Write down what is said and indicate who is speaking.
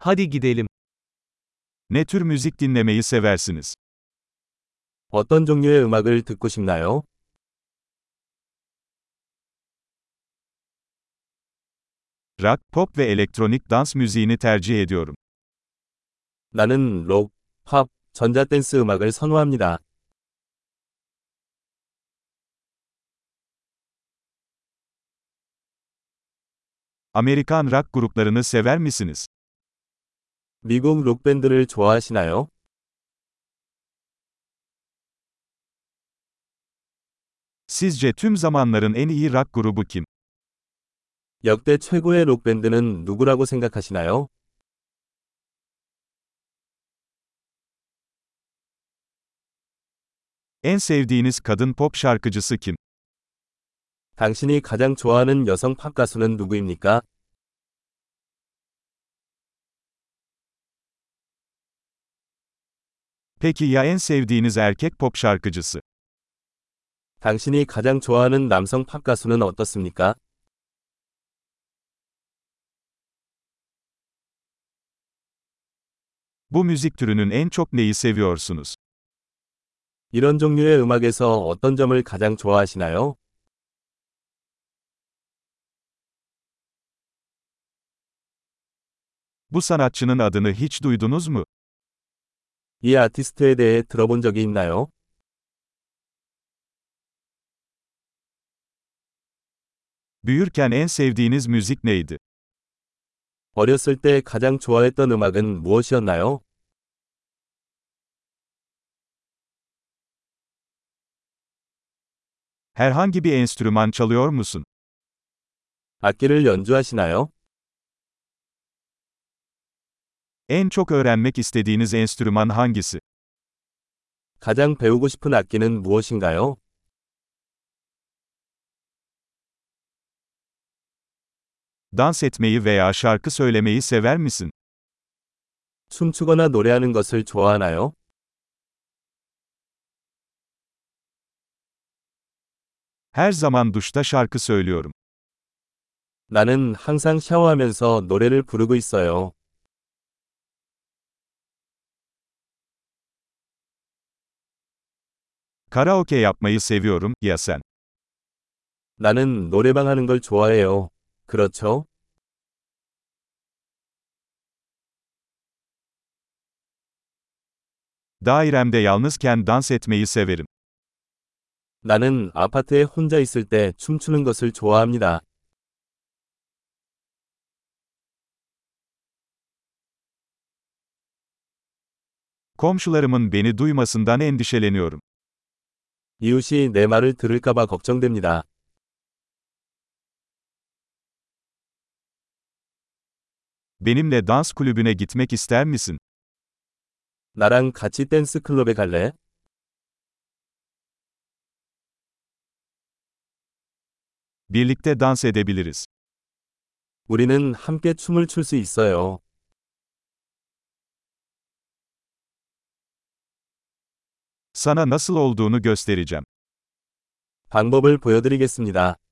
Speaker 1: Hadi gidelim.
Speaker 2: Ne tür müzik dinlemeyi seversiniz?
Speaker 3: 어떤 종류의 음악을 듣고 싶나요?
Speaker 2: Rock, pop ve elektronik dans müziğini tercih ediyorum.
Speaker 3: 나는 록, 팝, 전자댄스 음악을 선호합니다.
Speaker 2: Amerikan rock gruplarını sever misiniz?
Speaker 3: 미국 록밴드를 좋아하시나요?
Speaker 2: Sizce tüm zamanların en iyi rock grubu kim?
Speaker 3: 역대 최고의 록밴드는 누구라고 생각하시나요?
Speaker 2: En sevdiğiniz kadın pop şarkıcısı kim?
Speaker 3: 당신이 가장 좋아하는 여성 팝 가수는 누구입니까?
Speaker 2: Peki ya en sevdiğiniz erkek pop şarkıcısı?
Speaker 3: 당신이 가장 좋아하는 남성 팝 가수는 어떻습니까?
Speaker 2: Bu müzik türünün en çok neyi seviyorsunuz?
Speaker 3: 이런 종류의 음악에서 어떤 점을 가장 좋아하시나요?
Speaker 2: Bu sanatçının adını hiç duydunuz mu?
Speaker 3: 이 아티스트에 대해 들어본 적이 있나요?
Speaker 2: Büyürken en sevdiğiniz müzik neydi?
Speaker 3: 어렸을 때 가장 좋아했던 음악은 무엇이었나요?
Speaker 2: Herhangi bir enstrüman çalıyor musun?
Speaker 3: 악기를 연주하시나요?
Speaker 2: En çok öğrenmek istediğiniz enstrüman hangisi?
Speaker 3: 가장 배우고 싶은 악기는 무엇인가요?
Speaker 2: Dans etmeyi veya şarkı söylemeyi sever misin?
Speaker 3: 춤추거나 노래하는 것을 좋아하나요?
Speaker 2: Her zaman duşta şarkı söylüyorum.
Speaker 3: 나는 항상 샤워하면서 노래를 부르고 있어요.
Speaker 2: Karaoke yapmayı seviyorum, ya sen?
Speaker 3: 나는 노래방 하는 걸 좋아해요. 그렇죠?
Speaker 2: Dairemde yalnızken dans etmeyi severim.
Speaker 3: 나는 아파트에 혼자 있을 때 춤추는 것을 좋아합니다.
Speaker 2: Komşularımın beni duymasından endişeleniyorum.
Speaker 3: 이웃이 내 말을 들을까봐 걱정됩니다.
Speaker 2: Benimle dans kulübüne gitmek ister misin?
Speaker 3: 나랑 같이 댄스 클럽에 갈래?
Speaker 2: Birlikte dans edebiliriz.
Speaker 3: 우리는 함께 춤을 출 수 있어요.
Speaker 2: Sana nasıl olduğunu göstereceğim.
Speaker 3: 방법을 보여드리겠습니다.